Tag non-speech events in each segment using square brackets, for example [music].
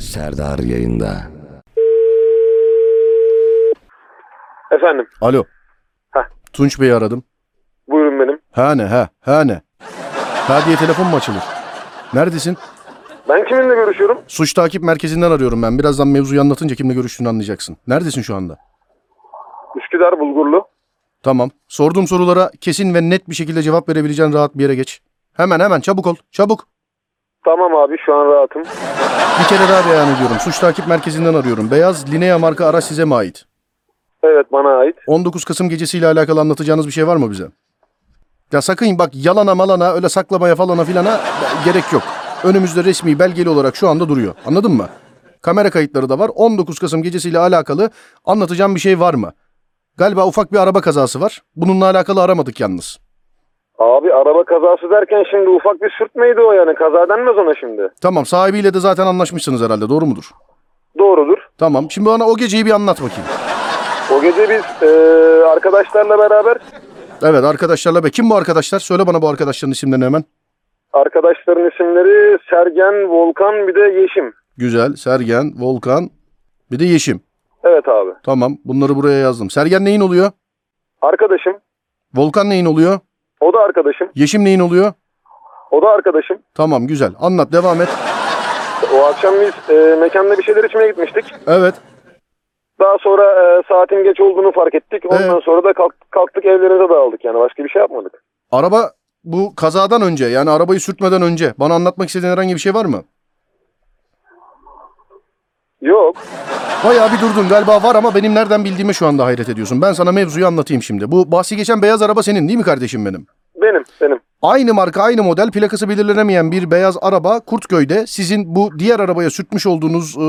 Serdar yayında. Efendim, Alo. Heh. Tunç Bey'i aradım. buyurun benim. Ha ne ha ha ne. Ha diye telefon mu açılır? Neredesin? Ben kiminle görüşüyorum? Suç takip merkezinden arıyorum ben. Birazdan mevzuyu anlatınca kimle görüştüğünü anlayacaksın. Neredesin şu anda? Üsküdar Bulgurlu. Tamam. Sorduğum sorulara kesin ve net bir şekilde cevap verebileceğin rahat bir yere geç. Hemen hemen çabuk ol. Çabuk. Tamam abi şu an rahatım. Bir kere daha beyan ediyorum. Suç takip merkezinden arıyorum. Beyaz Linea marka araç size mi ait? Evet bana ait. 19 Kasım gecesiyle alakalı anlatacağınız bir şey var mı bize? Ya sakın bak yalana malana öyle saklamaya falana filana gerek yok. Önümüzde resmi belgeli olarak şu anda duruyor. Anladın mı? Kamera kayıtları da var. 19 Kasım gecesiyle alakalı anlatacağım bir şey var mı? Galiba ufak bir araba kazası var. Bununla alakalı aramadık yalnız. Abi araba kazası derken şimdi ufak bir sürtmeydi o yani. Kaza denmez ona şimdi. Tamam sahibiyle de zaten anlaşmışsınız herhalde doğru mudur? Doğrudur. Tamam şimdi bana o geceyi bir anlat bakayım. O gece biz eee, arkadaşlarla beraber, Evet arkadaşlarla be. Kim bu arkadaşlar? Söyle bana bu arkadaşların isimlerini hemen. arkadaşların isimleri Sergen, Volkan bir de Yeşim. Güzel. Sergen, Volkan, bir de Yeşim. Evet abi. Tamam bunları buraya yazdım. Sergen neyin oluyor? Arkadaşım, Volkan neyin oluyor? o da arkadaşım, Yeşim neyin oluyor? o da arkadaşım. Tamam güzel. Anlat devam et. O akşam biz eee, mekanda bir şeyler içmeye gitmiştik. Evet. Daha sonra eee, saatin geç olduğunu fark ettik. Ondan Evet. sonra da kalk- kalktık evlerine dağıldık yani. Başka bir şey yapmadık. Araba bu kazadan önce yani arabayı sürtmeden önce bana anlatmak istediğin herhangi bir şey var mı? Yok. Bayağı bir durdun galiba var ama benim nereden bildiğime şu anda hayret ediyorsun. Ben sana mevzuyu anlatayım şimdi. Bu bahsi geçen beyaz araba senin değil mi kardeşim benim? Benim, benim. Aynı marka aynı model plakası belirlenemeyen bir beyaz araba Kurtköy'de sizin bu diğer arabaya sürtmüş olduğunuz e,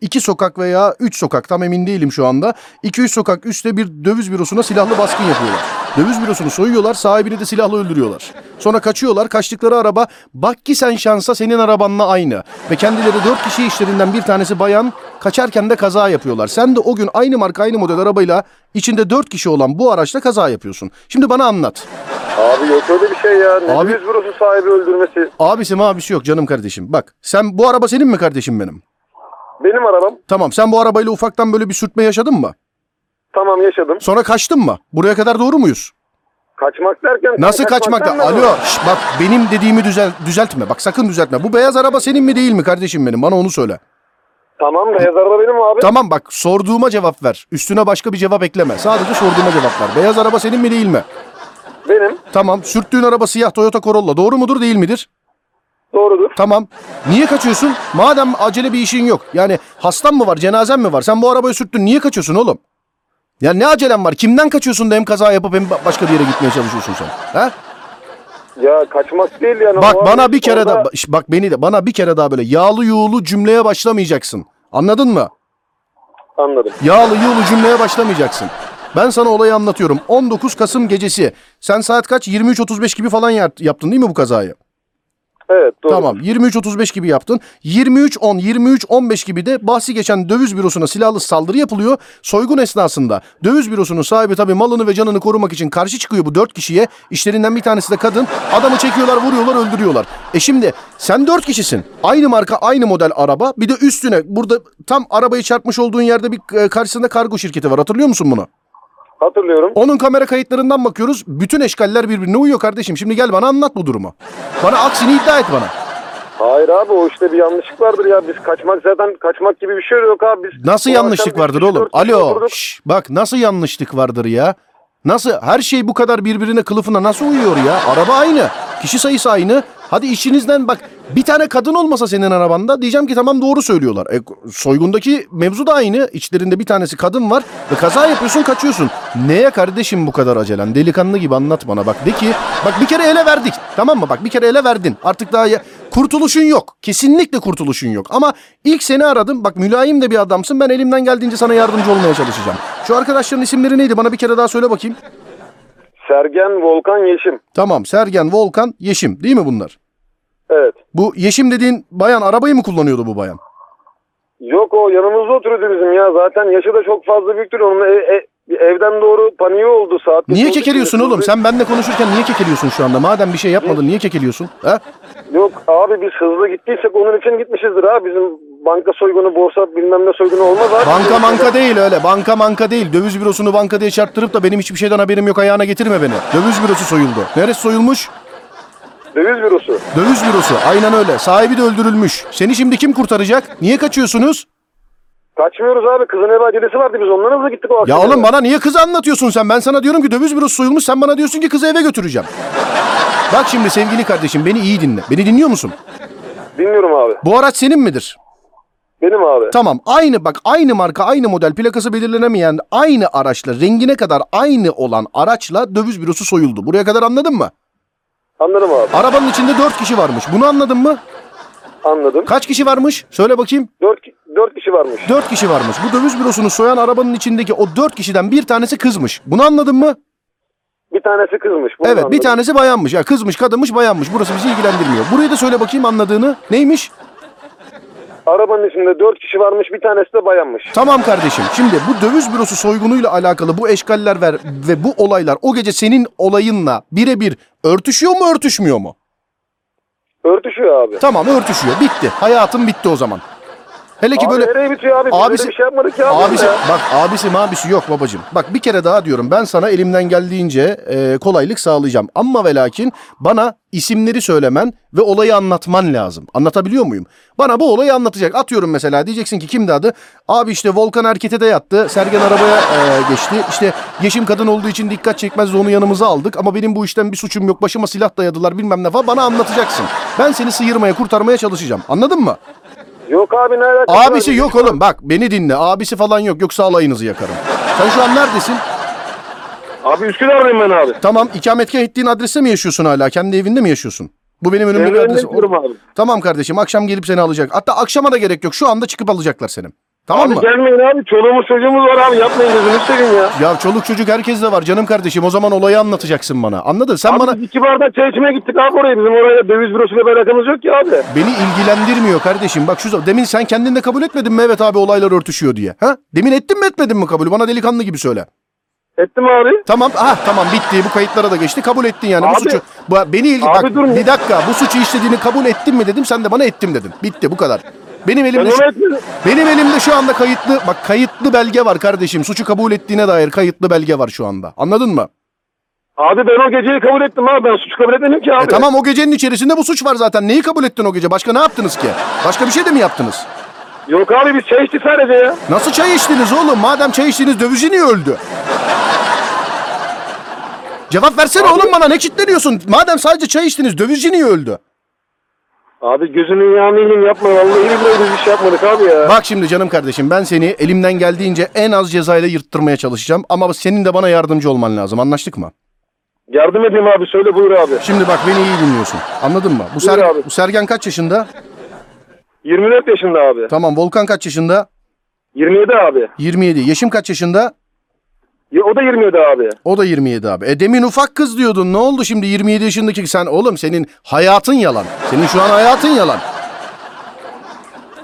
iki sokak veya üç sokak tam emin değilim şu anda. 2-3 sokak üstte bir döviz bürosuna silahlı baskın yapıyorlar. Döviz bürosunu soyuyorlar sahibini de silahla öldürüyorlar. Sonra kaçıyorlar kaçtıkları araba bak ki sen şansa senin arabanla aynı. Ve kendileri dört kişi işlerinden bir tanesi bayan kaçarken de kaza yapıyorlar. Sen de o gün aynı marka aynı model arabayla içinde dört kişi olan bu araçla kaza yapıyorsun. Şimdi bana anlat. Abi yok öyle bir şey ya. Ne Abi- döviz bürosu sahibi öldürmesi. Abisi mabisi yok canım kardeşim. Bak sen bu araba senin mi kardeşim benim? Benim arabam. Tamam sen bu arabayla ufaktan böyle bir sürtme yaşadın mı? Tamam yaşadım. Sonra kaçtın mı? Buraya kadar doğru muyuz? Kaçmak derken... Nasıl kaçmaktan kaçmakta? ne Alo var? şş, bak benim dediğimi düzel düzeltme. Bak sakın düzeltme. Bu beyaz araba senin mi değil mi kardeşim benim? Bana onu söyle. Tamam beyaz araba benim abi. Tamam bak sorduğuma cevap ver. Üstüne başka bir cevap ekleme. Sadece sorduğuma cevap ver. Beyaz araba senin mi değil mi? Benim. Tamam sürttüğün araba siyah Toyota Corolla. Doğru mudur değil midir? Doğrudur. Tamam. Niye kaçıyorsun? Madem acele bir işin yok. Yani hastan mı var, cenazen mi var? Sen bu arabayı sürttün. Niye kaçıyorsun oğlum? Ya ne acelen var? Kimden kaçıyorsun da hem kaza yapıp hem ba- başka bir yere gitmeye çalışıyorsun sen? Ha? Ya kaçmak değil yani. Bak O bana abi bir kere daha orada- şş, bak beni de bana bir kere daha böyle yağlı yuğulu cümleye başlamayacaksın. Anladın mı? Anladım. Yağlı yuğlu cümleye başlamayacaksın. Ben sana olayı anlatıyorum. 19 Kasım gecesi. Sen saat kaç? 23.35 gibi falan yap- yaptın değil mi bu kazayı? Evet doğru. Tamam 23.35 gibi yaptın. 23.10, 23.15 gibi de bahsi geçen döviz bürosuna silahlı saldırı yapılıyor. Soygun esnasında döviz bürosunun sahibi tabii malını ve canını korumak için karşı çıkıyor bu dört kişiye. İşlerinden bir tanesi de kadın. Adamı çekiyorlar, vuruyorlar, öldürüyorlar. E şimdi sen dört kişisin. Aynı marka, aynı model araba. Bir de üstüne burada tam arabayı çarpmış olduğun yerde bir e, karşısında kargo şirketi var. Hatırlıyor musun bunu? Hatırlıyorum. Onun kamera kayıtlarından bakıyoruz. Bütün eşkaller birbirine uyuyor kardeşim. Şimdi gel bana anlat bu durumu. Bana aksini iddia et bana. Hayır abi o işte bir yanlışlık vardır ya. Biz kaçmak zaten kaçmak gibi bir şey yok abi. Biz Nasıl o yanlışlık akşam vardır üç, oğlum? dört kişi Alo. oturduk. şş, bak nasıl yanlışlık vardır ya? Nasıl her şey bu kadar birbirine kılıfına nasıl uyuyor ya? Araba aynı. Kişi sayısı aynı. Hadi işinizden bak bir tane kadın olmasa senin arabanda diyeceğim ki tamam doğru söylüyorlar. E, soygundaki mevzu da aynı. İçlerinde bir tanesi kadın var ve kaza yapıyorsun kaçıyorsun. Neye kardeşim bu kadar acelen? Delikanlı gibi anlat bana bak. De ki bak bir kere ele verdik tamam mı? Bak bir kere ele verdin. Artık daha ya- kurtuluşun yok. Kesinlikle kurtuluşun yok. Ama ilk seni aradım. Bak mülayim de bir adamsın. Ben elimden geldiğince sana yardımcı olmaya çalışacağım. Şu arkadaşların isimleri neydi? Bana bir kere daha söyle bakayım. Sergen, Volkan, Yeşim. Tamam Sergen, Volkan, Yeşim değil mi bunlar? Evet. Bu Yeşim dediğin bayan arabayı mı kullanıyordu bu bayan? Yok o yanımızda oturuyordu bizim ya. Zaten yaşı da çok fazla büyüktür. Onun e- e- bir evden doğru paniği oldu saat. Niye dokuz, kekeliyorsun dokuz, oğlum? dokuz. Sen benimle konuşurken niye kekeliyorsun şu anda? Madem bir şey yapmadın niye kekeliyorsun? Ha? Yok abi biz hızlı gittiysek onun için gitmişizdir abi. Bizim banka soygunu, borsa bilmem ne soygunu olmaz abi. Banka manka değil öyle. Banka manka değil. Döviz bürosunu banka diye çarptırıp da benim hiçbir şeyden haberim yok ayağına getirme beni. Döviz bürosu soyuldu. Neresi soyulmuş? Döviz bürosu. Döviz bürosu. Aynen öyle. Sahibi de öldürülmüş. Seni şimdi kim kurtaracak? Niye kaçıyorsunuz? Kaçmıyoruz abi. Kızın ev acelesi vardı. Biz ondan hızlı gittik o Ya akşam. oğlum bana niye kızı anlatıyorsun sen? Ben sana diyorum ki döviz bürosu soyulmuş. Sen bana diyorsun ki kızı eve götüreceğim. Bak şimdi sevgili kardeşim beni iyi dinle. Beni dinliyor musun? Dinliyorum abi. Bu araç senin midir? Benim abi. Tamam aynı bak aynı marka aynı model plakası belirlenemeyen aynı araçla rengine kadar aynı olan araçla döviz bürosu soyuldu. Buraya kadar anladın mı? Anladım abi. Arabanın içinde 4 kişi varmış. Bunu anladın mı? Anladım. Kaç kişi varmış? Söyle bakayım. Dört, ki- dört kişi varmış. 4 kişi varmış. Bu döviz bürosunu soyan arabanın içindeki o 4 kişiden bir tanesi kızmış. Bunu anladın mı? Bir tanesi kızmış. Bunu Evet anladım. bir tanesi bayanmış. Ya kızmış, kadınmış, bayanmış. Burası bizi ilgilendirmiyor. Burayı da söyle bakayım anladığını. Neymiş? Arabanın içinde dört kişi varmış. Bir tanesi de bayanmış. Tamam kardeşim. Şimdi bu döviz bürosu soygunuyla alakalı bu eşkaller ver ve bu olaylar o gece senin olayınla birebir örtüşüyor mu örtüşmüyor mu? Örtüşüyor abi. Tamam örtüşüyor. Bitti. Hayatın bitti o zaman. Hele ki Abi böyle nereye bitiyor abi? Biz Abisi- öyle bir şey yapmadık ya. Abisi burada. bak abisi mabisi yok babacığım. Bak bir kere daha diyorum ben sana elimden geldiğince e, kolaylık sağlayacağım. Ama ve lakin bana isimleri söylemen ve olayı anlatman lazım. Anlatabiliyor muyum? Bana bu olayı anlatacak. Atıyorum mesela diyeceksin ki kimdi adı? Abi işte Volkan Erkete de yattı. Sergen arabaya e, geçti. İşte yeşim kadın olduğu için dikkat çekmez de onu yanımıza aldık. Ama benim bu işten bir suçum yok. Başıma silah dayadılar bilmem ne falan. Bana anlatacaksın. Ben seni sıyırmaya kurtarmaya çalışacağım. Anladın mı? Yok abi ne alakası var? Abisi yok oğlum bak beni dinle. Abisi falan yok yoksa alayınızı yakarım. Sen şu an neredesin? Abi Üsküdar'dayım ben abi. Tamam ikametgah ettiğin adreste mi yaşıyorsun hala? Kendi evinde mi yaşıyorsun? Bu benim önümde Evimde bir adres. yaşıyorum abi. Tamam kardeşim akşam gelip seni alacak. Hatta akşama da gerek yok. Şu anda çıkıp alacaklar seni. Tamam Abi mı? gelmeyin abi. Çoluğumuz çocuğumuz var abi. Yapmayın gözünü seveyim ya. Ya çoluk çocuk herkes de var canım kardeşim. O zaman olayı anlatacaksın bana. Anladın? Sen Abi bana biz iki bardak çay içmeye gittik abi oraya. Bizim oraya döviz bürosuyla bir alakamız yok ki abi. beni ilgilendirmiyor kardeşim. Bak şu zam- demin sen kendin de kabul etmedin mi? Evet abi olaylar örtüşüyor diye. Ha? Demin ettin mi etmedin mi kabul? Bana delikanlı gibi söyle. Ettim abi. Tamam. Ah tamam bitti. Bu kayıtlara da geçti. Kabul ettin yani bu Abi- suçu. Bu, beni ilgi Abi bak dur ya. bir dakika. Bu suçu işlediğini kabul ettin mi dedim. Sen de bana ettim dedin. Bitti bu kadar. Benim Ben elimde şu, onu etmedim. benim elimde şu anda kayıtlı bak kayıtlı belge var kardeşim. Suçu kabul ettiğine dair kayıtlı belge var şu anda. Anladın mı? Abi ben o geceyi kabul ettim abi. Ben suç kabul etmedim ki abi. E tamam o gecenin içerisinde bu suç var zaten. Neyi kabul ettin o gece? Başka ne yaptınız ki? Başka bir şey de mi yaptınız? Yok abi biz çay içtik sadece ya. Nasıl çay içtiniz oğlum? Madem çay içtiniz dövizci niye öldü? Cevap versene oğlum bana ne kitleniyorsun? Madem sadece çay içtiniz dövizci niye öldü? Abi gözünün yağını yiyeyim yapma. Vallahi billahi biz bir şey yapmadık abi ya. Bak şimdi canım kardeşim ben seni elimden geldiğince en az cezayla yırttırmaya çalışacağım ama senin de bana yardımcı olman lazım anlaştık mı? Yardım edeyim abi söyle buyur abi. Şimdi bak beni iyi dinliyorsun anladın mı? Bu, Ser- Buyur abi. bu Sergen kaç yaşında? 24 yaşında abi. Tamam Volkan kaç yaşında? 27 abi. 27. Yeşim kaç yaşında? Ya, o da 27 abi. O da 27 abi. E demin ufak kız diyordun ne oldu şimdi 27 yaşındaki sen oğlum senin hayatın yalan. Senin şu an hayatın yalan.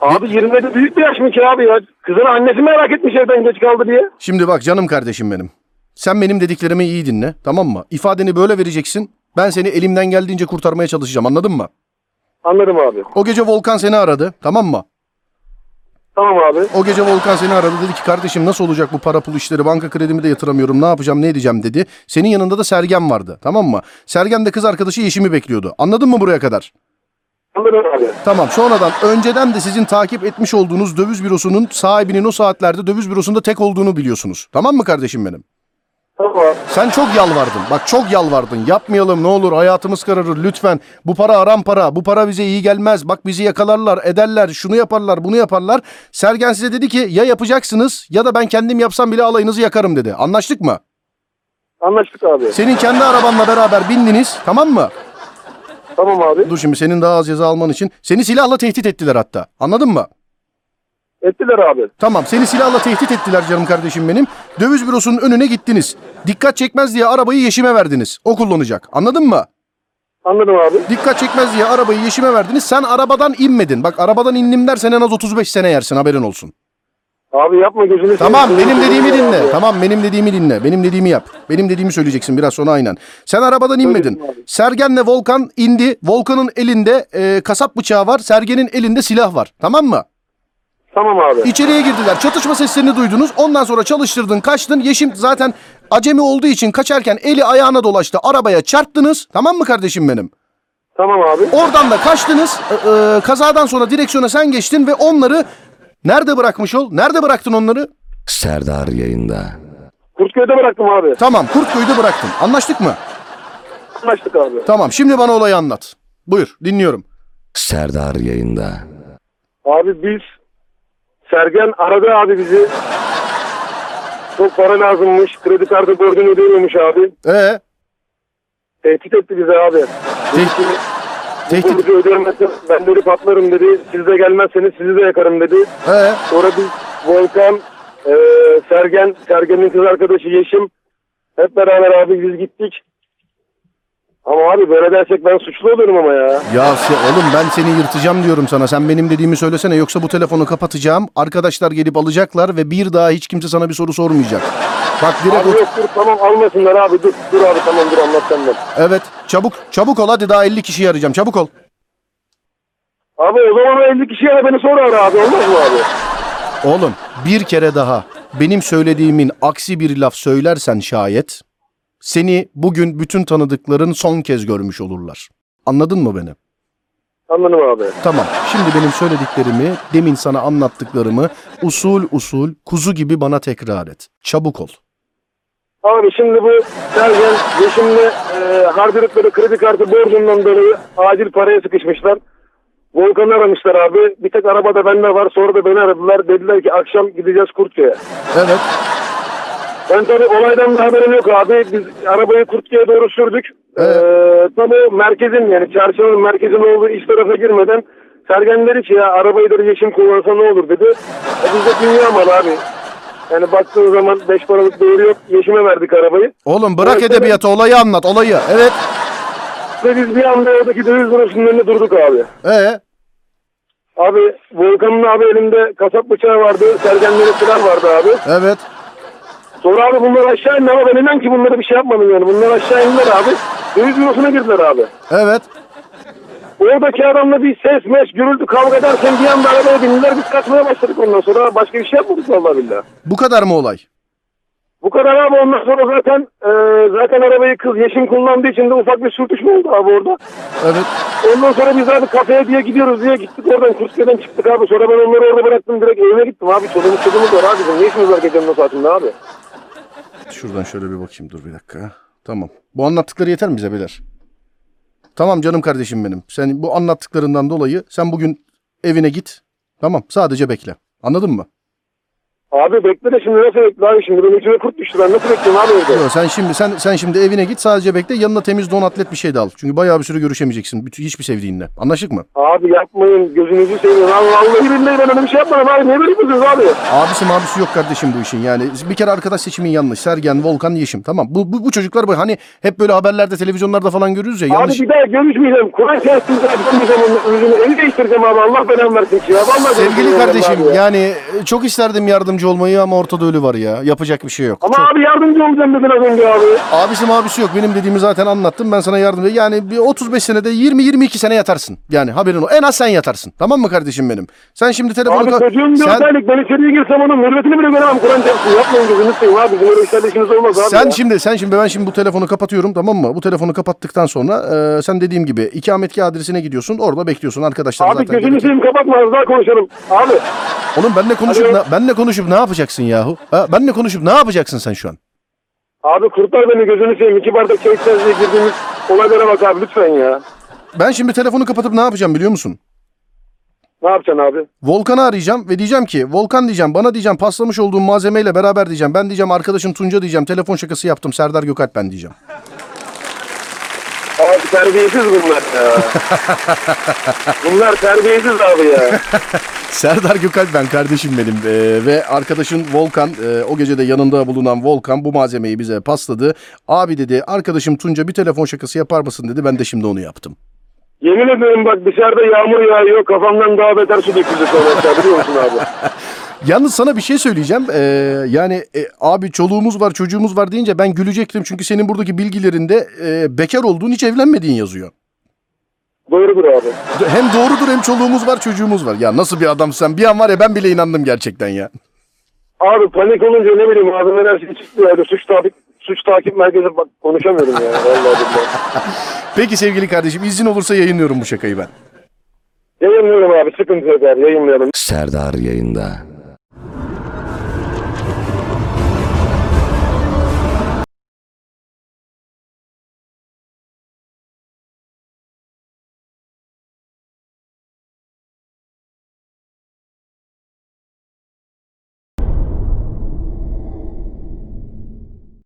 Abi 27 büyük bir yaş mı ki abi ya? Kızın annesi merak etmiş evden geç kaldı diye. Şimdi bak canım kardeşim benim. Sen benim dediklerimi iyi dinle tamam mı? İfadeni böyle vereceksin. Ben seni elimden geldiğince kurtarmaya çalışacağım anladın mı? Anladım abi. O gece Volkan seni aradı tamam mı? Tamam abi. O gece Volkan seni aradı dedi ki kardeşim nasıl olacak bu para pul işleri banka kredimi de yatıramıyorum ne yapacağım ne edeceğim dedi. Senin yanında da Sergen vardı tamam mı? Sergen de kız arkadaşı Yeşim'i bekliyordu. Anladın mı buraya kadar? Anladım abi. Tamam sonradan önceden de sizin takip etmiş olduğunuz döviz bürosunun sahibinin o saatlerde döviz bürosunda tek olduğunu biliyorsunuz. Tamam mı kardeşim benim? Tamam abi. Sen çok yalvardın. Bak çok yalvardın. Yapmayalım ne olur hayatımız kararır lütfen. Bu para aram para. Bu para bize iyi gelmez. Bak bizi yakalarlar ederler. Şunu yaparlar bunu yaparlar. Sergen size dedi ki ya yapacaksınız ya da ben kendim yapsam bile alayınızı yakarım dedi. Anlaştık mı? Anlaştık abi. Senin kendi arabanla beraber bindiniz tamam mı? Tamam abi. Dur şimdi senin daha az ceza alman için. Seni silahla tehdit ettiler hatta. Anladın mı? Ettiler abi. Tamam seni silahla tehdit ettiler canım kardeşim benim. Döviz bürosunun önüne gittiniz. Dikkat çekmez diye arabayı yeşime verdiniz. O kullanacak. Anladın mı? Anladım abi. Dikkat çekmez diye arabayı yeşime verdiniz. Sen arabadan inmedin. Bak arabadan indim dersen en az 35 sene yersin haberin olsun. Abi yapma gözünü seveyim. Tamam benim Gözünü dediğimi seveyim dinle. abi. Tamam benim dediğimi dinle. Benim dediğimi yap. Benim dediğimi söyleyeceksin biraz sonra aynen. Sen arabadan inmedin. Söyledim abi. Sergen'le Volkan indi. Volkan'ın elinde e, kasap bıçağı var. Sergen'in elinde silah var. Tamam mı? Tamam abi. İçeriye girdiler. Çatışma seslerini duydunuz. Ondan sonra çalıştırdın, kaçtın. Yeşim zaten acemi olduğu için kaçarken eli ayağına dolaştı. Arabaya çarptınız. Tamam mı kardeşim benim? Tamam abi. Oradan da kaçtınız. Ee, e, kazadan sonra direksiyona sen geçtin ve onları nerede bırakmış ol? Nerede bıraktın onları? Serdar yayında. Kurtköy'de bıraktım abi. Tamam, Kurtköy'de bıraktın. Anlaştık mı? Anlaştık abi. Tamam. Şimdi bana olayı anlat. Buyur, dinliyorum. Serdar yayında. Abi biz Sergen aradı abi bizi. Çok para lazımmış. Kredi kartı borcunu ödeyemiyormuş abi. Ee, Tehdit etti bizi abi. Dedi ki, tehdit. Borcu ödeyemezsen ben dedi patlarım dedi. Siz de gelmezseniz sizi de yakarım dedi. Ee, Sonra biz Volkan, eee, Sergen, Sergen'in kız arkadaşı Yeşim. Hep beraber abi biz gittik. Ama abi böyle dersek ben suçlu olurum ama ya. Ya se- oğlum ben seni yırtacağım diyorum sana. Sen benim dediğimi söylesene yoksa bu telefonu kapatacağım. Arkadaşlar gelip alacaklar ve bir daha hiç kimse sana bir soru sormayacak. Bak direkt Abi o- yok dur tamam almasınlar abi dur. Dur abi tamam dur anlat sen de. Evet çabuk çabuk ol hadi daha 50 kişiyi arayacağım çabuk ol. Abi o zaman o 50 kişiye de beni sonra ara abi olmaz mı abi? Oğlum bir kere daha benim söylediğimin aksi bir laf söylersen şayet seni bugün bütün tanıdıkların son kez görmüş olurlar. Anladın mı beni? Anladım abi. Tamam. Şimdi benim söylediklerimi, demin sana anlattıklarımı usul usul kuzu gibi bana tekrar et. Çabuk ol. Abi şimdi bu Sergen Yeşim'le e, harcadıkları kredi kartı borcundan dolayı acil paraya sıkışmışlar. Volkan'ı aramışlar abi. Bir tek arabada bende var. Sonra da beni aradılar. Dediler ki akşam gideceğiz Kurtköy'e. Evet. Ben tabii olaydan da haberim yok abi. Biz arabayı Kurtköy'e doğru sürdük. Evet. Ee, tam o merkezin yani çarşının merkezin olduğu iç tarafa girmeden Sergen dedi ki ya arabayı da Yeşim kullansa ne olur dedi. E biz de dünya mal abi. Yani baktığın zaman beş paralık değeri yok. Yeşime verdik arabayı. Oğlum bırak Evet, edebiyatı olayı anlat olayı. Evet. Ve biz bir anda oradaki döviz bürosunun önünde durduk abi. Ee, Abi Volkan'ın abi elimde kasap bıçağı vardı. Sergenlerin silah vardı abi. evet. Sonra abi bunlar aşağı indi ama ben inan ki bunlara bir şey yapmadım yani. Bunlar aşağı indiler abi. Döviz bürosuna girdiler abi. Evet. Oradaki adamla bir ses meş gürültü kavga ederken bir anda arabaya bindiler. Biz kaçmaya başladık ondan sonra. Başka bir şey yapmadık vallahi billahi. Bu kadar mı olay? Bu kadar abi ondan sonra zaten e, zaten arabayı kız Yeşim kullandığı için de ufak bir sürtüşme oldu abi orada. Evet. Ondan sonra biz abi kafeye diye gidiyoruz diye gittik oradan Kurtköy'den çıktık abi. Sonra ben onları orada bıraktım direkt evime gittim abi. Çoluğumuz çocuğumuz var abi. Bizim ne işimiz var gecenin o saatinde abi? Şuradan şöyle bir bakayım dur bir dakika. Tamam. Bu anlattıkları yeter mi bize beyler? Tamam canım kardeşim benim. Sen bu anlattıklarından dolayı sen bugün evine git. Tamam sadece bekle. Anladın mı? Abi bekle de şimdi nasıl bekle abi şimdi benim içime kurt düştü ben nasıl bekleyeyim abi evde? Yo, sen şimdi sen sen şimdi evine git sadece bekle. Yanına temiz don atlet bir şey de al. Çünkü bayağı bir süre görüşemeyeceksin. Bütün, hiçbir sevdiğinle. Anlaştık mı? Abi yapmayın gözünüzü seveyim abi vallahi billahi ben öyle bir şey yapmadım abi ne bileyim siz abi? Abisi mabisi yok kardeşim bu işin yani. Bir kere arkadaş seçimin yanlış. Sergen, Volkan, Yeşim. Tamam. Bu, bu, bu çocuklar bu- hani hep böyle haberlerde, televizyonlarda falan görürüz ya. Yanlış. Abi bir daha görüşmeyeceğim. Kur'an şahsını bırakmayacağım onun özünü. Eli değiştireceğim abi. Allah belamı versin ki ya. Vallahi Sevgili değiştireceğim abi kardeşim ya. yani e, çok isterdim yardımcı olmayı ama ortada ölü var ya. Yapacak bir şey yok. Ama Çok- abi yardımcı olacağım dedin az önce abi. Abisi mabisi yok. Benim dediğimi zaten anlattım. Ben sana yardım Yani bir 35 senede 20-22 sene yatarsın. Yani haberin o. En az sen yatarsın. Tamam mı kardeşim benim? Sen şimdi telefonu... Abi ka- çocuğum dört sen, aylık. Ben içeriye girsem onun hürmetini bile göremem. Kur'an şahsını yapmayın gözünü seveyim abi. Bizim öyle işlerle işimiz olmaz abi. sen ya. şimdi sen şimdi ben şimdi bu telefonu kapatıyorum tamam mı? Bu telefonu kapattıktan sonra e, sen dediğim gibi ikametgah adresine gidiyorsun. Orada bekliyorsun arkadaşlar Abi zaten. gözünü gelecek. seveyim kapatma az daha konuşalım. Abi Oğlum benle konuşup Alo. na- benle konuşup ne yapacaksın yahu? Ha, benle konuşup ne yapacaksın sen şu an? abi kurtar beni gözünü seveyim. İki bardak çay içeceğiz diye girdiğimiz olaylara bak abi lütfen ya. Ben şimdi telefonu kapatıp ne yapacağım biliyor musun? Ne yapacaksın abi? Volkan'ı arayacağım ve diyeceğim ki Volkan diyeceğim bana diyeceğim paslamış olduğum malzemeyle beraber diyeceğim. Ben diyeceğim arkadaşım Tunca diyeceğim telefon şakası yaptım Serdar Gökalp ben diyeceğim. Abi terbiyesiz bunlar [laughs] ya. bunlar terbiyesiz abi ya. [laughs] Serdar Gökalp ben kardeşim benim Ee, ve arkadaşın Volkan e, o gece de yanında bulunan Volkan bu malzemeyi bize pasladı. Abi dedi arkadaşım Tunca bir telefon şakası yapar mısın dedi ben de şimdi onu yaptım. Yemin ederim bak dışarıda yağmur yağıyor kafamdan daha beter su döküldü sonra aşağı, biliyor musun abi? Yalnız sana bir şey söyleyeceğim. Ee, yani e, abi çoluğumuz var çocuğumuz var deyince ben gülecektim. Çünkü senin buradaki bilgilerinde e, bekar olduğun hiç evlenmediğin yazıyor. Doğrudur abi. Hem doğrudur hem çoluğumuz var çocuğumuz var. Ya nasıl bir adamsın sen? Bir an var ya ben bile inandım gerçekten ya. Abi panik olunca ne bileyim ağzımdan her şey çıktı yani suç takip suç takip merkezi bak konuşamıyorum ya vallahi billahi. Peki sevgili kardeşim izin olursa yayınlıyorum bu şakayı ben. Yayınlıyorum abi sıkıntı yok abi yayınlayalım. Serdar yayında.